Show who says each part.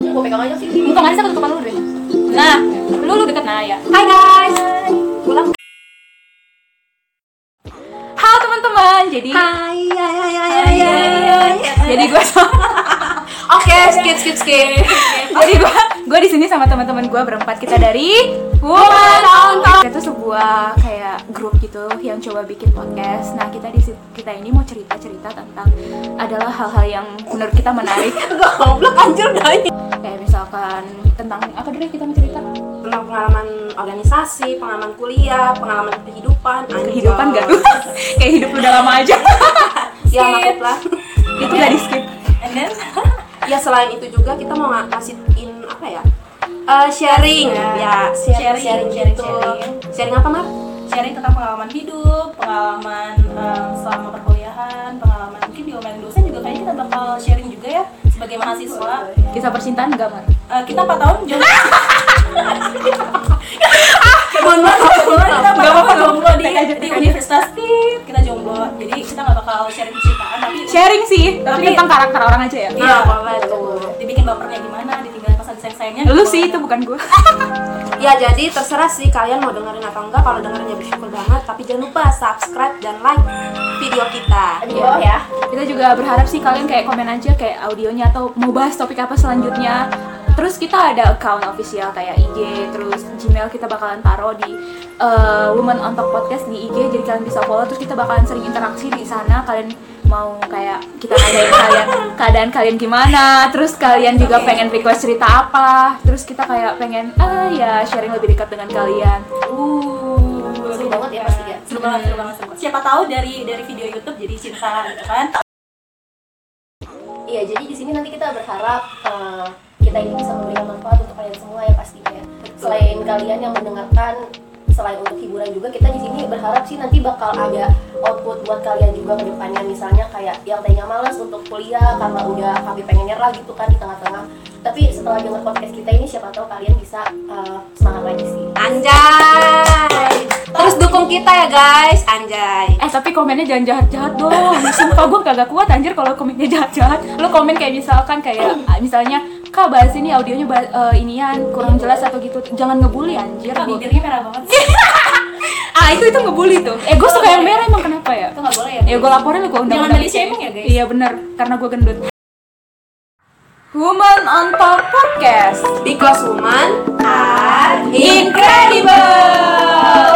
Speaker 1: pegang aja sih
Speaker 2: Muka manis apa tutupan lu deh? Nah, lu lu deket nah ya. Hai guys. Pulang. Halo teman-teman. Jadi
Speaker 1: hai hai hai hai
Speaker 2: Hai, guys. Jadi gue
Speaker 1: oke skip skip skip
Speaker 2: jadi gue gue di sini sama teman-teman gue berempat kita dari Woman Nonton. Itu sebuah kayak grup gitu yang coba bikin podcast. Nah kita di sit- kita ini mau cerita cerita tentang adalah hal-hal yang menurut kita menarik.
Speaker 1: goblok anjir doi
Speaker 2: kayak misalkan tentang apa dulu kita mau cerita?
Speaker 1: tentang pengalaman organisasi pengalaman kuliah pengalaman kehidupan anjay.
Speaker 2: kehidupan gaduh kayak hidup udah lama aja
Speaker 1: ya maklum lah
Speaker 2: itu gak di skip
Speaker 1: ya selain itu juga kita mau nga- ngasihin apa ya Eh, sharing ya sharing sharing sharing, sharing. apa mar
Speaker 3: sharing tentang pengalaman hidup, pengalaman um, selama perkuliahan, pengalaman mungkin diomelin dosen juga kayaknya kita bakal sharing juga ya sebagai mahasiswa.
Speaker 2: kisah percintaan gak mar
Speaker 3: Eh, kita 4 tahun jomblo,
Speaker 2: Ah!
Speaker 1: mohon maaf
Speaker 3: kita 4
Speaker 2: Gak
Speaker 3: tahun
Speaker 2: apa-apa,
Speaker 3: jomblo di,
Speaker 2: tek aja,
Speaker 3: di
Speaker 2: tek aja.
Speaker 3: universitas Tit, kita jomblo. Jadi kita nggak bakal sharing percintaan tapi
Speaker 2: sharing sih tapi,
Speaker 3: Tapi-
Speaker 2: tentang karakter orang aja ya
Speaker 1: Iya, boleh tuh.
Speaker 3: dibikin bapernya gimana, ditinggalin pesan sayang-sayangnya.
Speaker 2: lu
Speaker 3: gimana.
Speaker 2: sih itu bukan gue
Speaker 1: Ya jadi terserah sih kalian mau dengerin atau enggak Kalau dengerin ya bersyukur banget Tapi jangan lupa subscribe dan like video kita
Speaker 3: Di bawah ya.
Speaker 2: Oh. kita juga berharap sih kalian kayak komen aja kayak audionya atau mau bahas topik apa selanjutnya terus kita ada account official kayak IG terus Gmail kita bakalan taruh di eh, Woman on Top podcast di IG jadi kalian bisa follow terus kita bakalan sering interaksi di sana kalian mau kayak kita keadaan kalian keadaan kalian gimana terus kalian juga pengen request cerita apa terus kita kayak pengen ah ya sharing lebih dekat dengan kalian
Speaker 3: Uh,
Speaker 1: Seru banget ya pasti ya.
Speaker 3: Seru banget, seru banget, seru banget. Siapa tahu dari dari video YouTube jadi cinta gitu kan.
Speaker 4: Iya, jadi di sini nanti kita berharap eh, kita ini bisa memberikan manfaat untuk kalian semua ya pastinya. Selain kalian yang mendengarkan, selain untuk hiburan juga kita di sini berharap sih nanti bakal ada output buat kalian juga ke depannya misalnya kayak yang tadinya malas untuk kuliah karena udah kami pengen nyerah gitu kan di tengah-tengah. Tapi setelah dengar podcast kita ini siapa tahu kalian bisa eh, semangat lagi sih.
Speaker 1: Anjay Terus dukung kita ya guys Anjay
Speaker 2: Eh tapi komennya jangan jahat-jahat dong Sumpah gue kagak kuat anjir kalau komennya jahat-jahat Lu komen kayak misalkan kayak ah, Misalnya Kak bahas ini audionya bah- eh, inian kurang jelas atau gitu Jangan ngebully
Speaker 1: Iya.
Speaker 2: anjir
Speaker 3: Kak,
Speaker 2: Gua-
Speaker 3: bibirnya merah banget. sih.
Speaker 2: Ah itu itu ngebully tuh Eh gue suka yang merah emang kenapa ya?
Speaker 3: Itu nggak boleh ya.
Speaker 2: Ya gue laporin lu ke undang-undang
Speaker 3: Jangan body shaming ya, guys.
Speaker 2: Iya bener Karena gue gendut Woman on Top Podcast
Speaker 1: Because woman are
Speaker 2: Incredible